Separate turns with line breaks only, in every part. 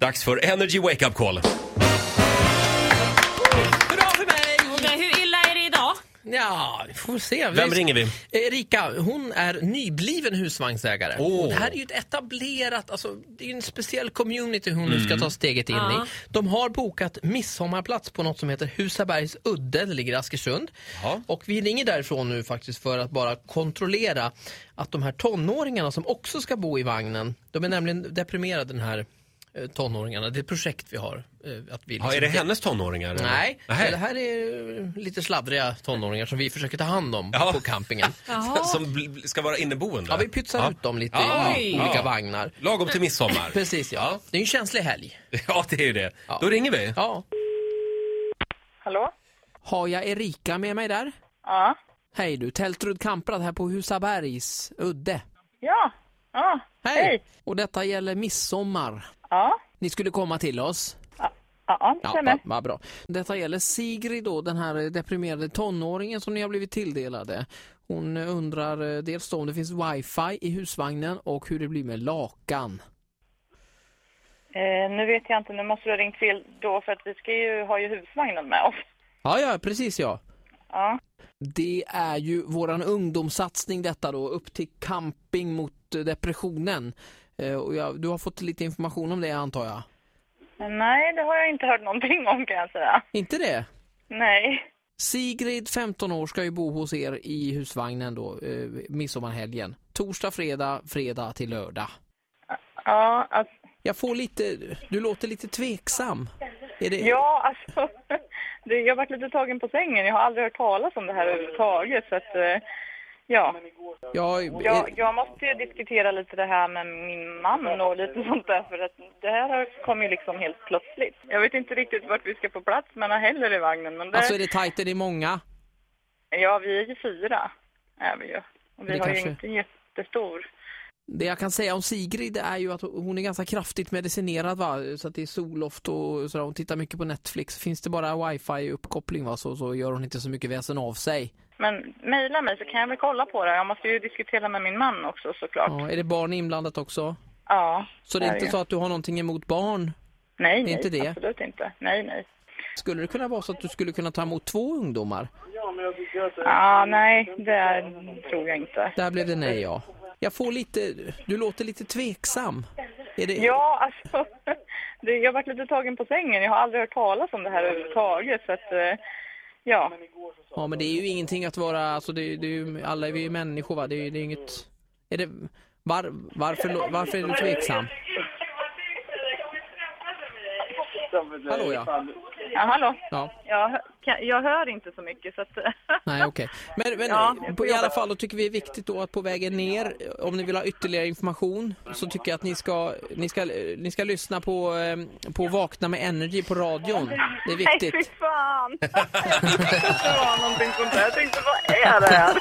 Dags för Energy Wake Up Call.
Hurra för mig!
Nej, hur illa är det idag?
Ja, vi får se.
Vem ringer vi?
Erika, hon är nybliven husvagnsägare.
Åh.
Och Det här är ju ett etablerat, alltså, det är ju en speciell community hon nu
Mm.
ska ta steget in
Ja.
i. De har bokat midsommarplats på något som heter Husabergs udde, det ligger i Askersund.
Ja.
Och vi ringer därifrån nu faktiskt för att bara kontrollera att de här tonåringarna som också ska bo i vagnen, de är nämligen deprimerade den här eh, tonåringarna, det är ett projekt vi har. eh, Att vi
Ja, är det hennes tonåringar? eller?
Nej,
Nähä.
det här är lite sladdriga tonåringar som vi försöker ta hand om
Ja.
på campingen.
Som bl- bl- ska vara inneboende?
Ja, vi pytsar ut dem lite
Ja.
i
Oj.
olika
Ja.
vagnar.
Lagom till midsommar.
Precis ja. Det är ju en känslig helg.
ja, det är ju det.
Ja.
Då ringer vi.
Ja.
Hallå?
Har jag Erika med mig där?
Ja.
Hej du, Tältrud Kamprad här på Husabergs udde.
Ja. Ja.
Och detta gäller midsommar.
Ja.
Ni skulle komma till oss.
Ja, det
Ja,
stämmer.
vad va bra. Detta gäller Sigrid då, den här deprimerade tonåringen som ni har blivit tilldelade. Hon undrar eh, dels då om det finns wifi i husvagnen och hur det blir med lakan.
Eh, nu vet jag inte, nu måste du ha ringt fel då för att vi ska ju ha ju husvagnen med oss.
Ja, ja, precis ja.
Ja.
Det är ju våran ungdomssatsning detta då, upp till camping mot eh, depressionen. Eh, Och jag, du har fått lite information om det antar jag?
Men Nej, det har jag inte hört någonting om kan jag säga.
Inte det?
Nej.
Sigrid, 15 år, ska ju bo hos er i husvagnen då, eh, midsommarhelgen. Torsdag, fredag, fredag till lördag.
Ja, alltså,
Jag får lite, du låter lite tveksam. Är det,
ja, alltså det, jag har varit lite tagen på sängen. Jag har aldrig hört talas om det här överhuvudtaget så att eh, ja.
ja, eh, är,
Jag, jag måste ju diskutera lite det här med min man och lite sånt där för att det här har- kom ju liksom helt plötsligt. Jag vet inte riktigt vart vi ska få plats med den här heller i vagnen men det...
Alltså är det tajt, är det många?
Ja, vi är ju fyra. Är vi ju. Och vi
Det
har
kanske-
ju inte en jättestor.
Det jag kan säga om Sigrid är ju att hon är ganska kraftigt medicinerad va, så att det är solloft och sådär. Hon tittar mycket på Netflix. Finns det bara wifi-uppkoppling va så, så gör hon inte så mycket väsen av sig.
Men mejla mig så kan jag väl kolla på det. Jag måste ju diskutera med min man också såklart. Ja.
Ja, är det barn inblandat också? Så det är inte så att du har någonting emot barn?
Nej,
det är
nej.
inte det.
Absolut inte. Nej, nej.
Skulle det kunna vara så att du skulle kunna ta emot två ungdomar?
Ja, nej. Det är... tror jag inte.
Där blev det nej ja. Jag får lite, du låter lite tveksam. Är det,
Ja, alltså. Det, jag har varit lite tagen på sängen. Jag har aldrig hört talas om det här överhuvudtaget så att... eh, Ja.
Ja, men det är ju ingenting att vara, alltså det, det är ju, alla är vi ju människor va, det är, det är inget... Är det, var, varför, lo- varför är du tveksam? Hallå ja.
Ja, hallå.
ja.
Jag, hö- kan- jag hör inte så mycket så att...
Nej okej. Men, men
Ja,
på, i alla fall då tycker vi det är viktigt då att på vägen ner, om ni vill ha ytterligare information, så tycker jag att ni ska, ni ska, ni ska lyssna på, eh, på Vakna med Energy på radion. Det är
Nej, fy
viktigt.
fan! Jag visste att det var någonting sånt där. Jag tänkte, vad är det här?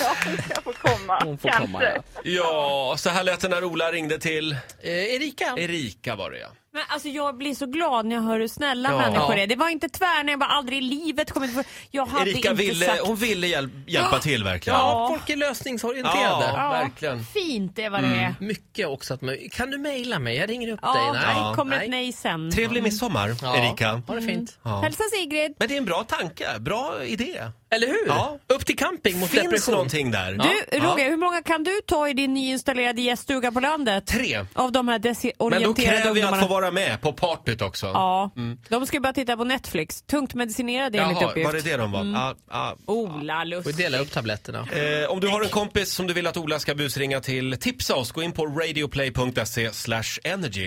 Ja, jag får komma.
Hon får
Kanske.
komma ja.
Ja, så här lät det när Ola ringde till
Eh, Erika.
Erika var det ja.
Men alltså jag blir så glad när jag hör hur snälla
Ja.
människor
Ja.
är. Det var inte tvär när jag bara aldrig i livet kommit på... Jag hade
Erika
inte
ville,
sagt...
hon ville hjäl hjälpa till verkligen.
Ja, folk är lösningsorienterade.
Ja.
Verkligen.
Fint det var det
Mm.
är.
Mycket också att man, kan du mejla mig? Jag ringer upp
Ja,
dig.
det kommer ett nej sen.
Trevlig midsommar,
Ja.
Erika.
Ha det fint.
Hälsa Sigrid.
Men det är en bra tanke, bra idé.
Eller hur?
Ja.
Upp till camping mot
Finns
depression.
någonting där?
Du, Roger, hur många kan du ta i din nyinstallerade gäststuga på landet?
Tre.
Av de här
Men då
desorienterade
kräver jag att
ungdomarna.
få vara med på partyt också.
Ja, de ska ju bara titta på Netflix. Tungt medicinerade enligt
Jaha,
uppgift. Mm.
var det det de var? Ja, ja.
Ola,
Får vi
lustigt.
dela upp tabletterna.
Eh, om du har en kompis som du vill att Ola ska busringa till, tipsa oss. Gå in på radioplay.se slash energy.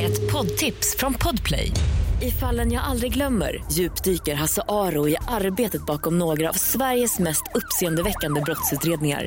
Ett poddtips från Podplay. I fallen jag aldrig glömmer djupdyker Hasse Aro i arbetet bakom några av Sveriges mest uppseendeväckande brottsutredningar.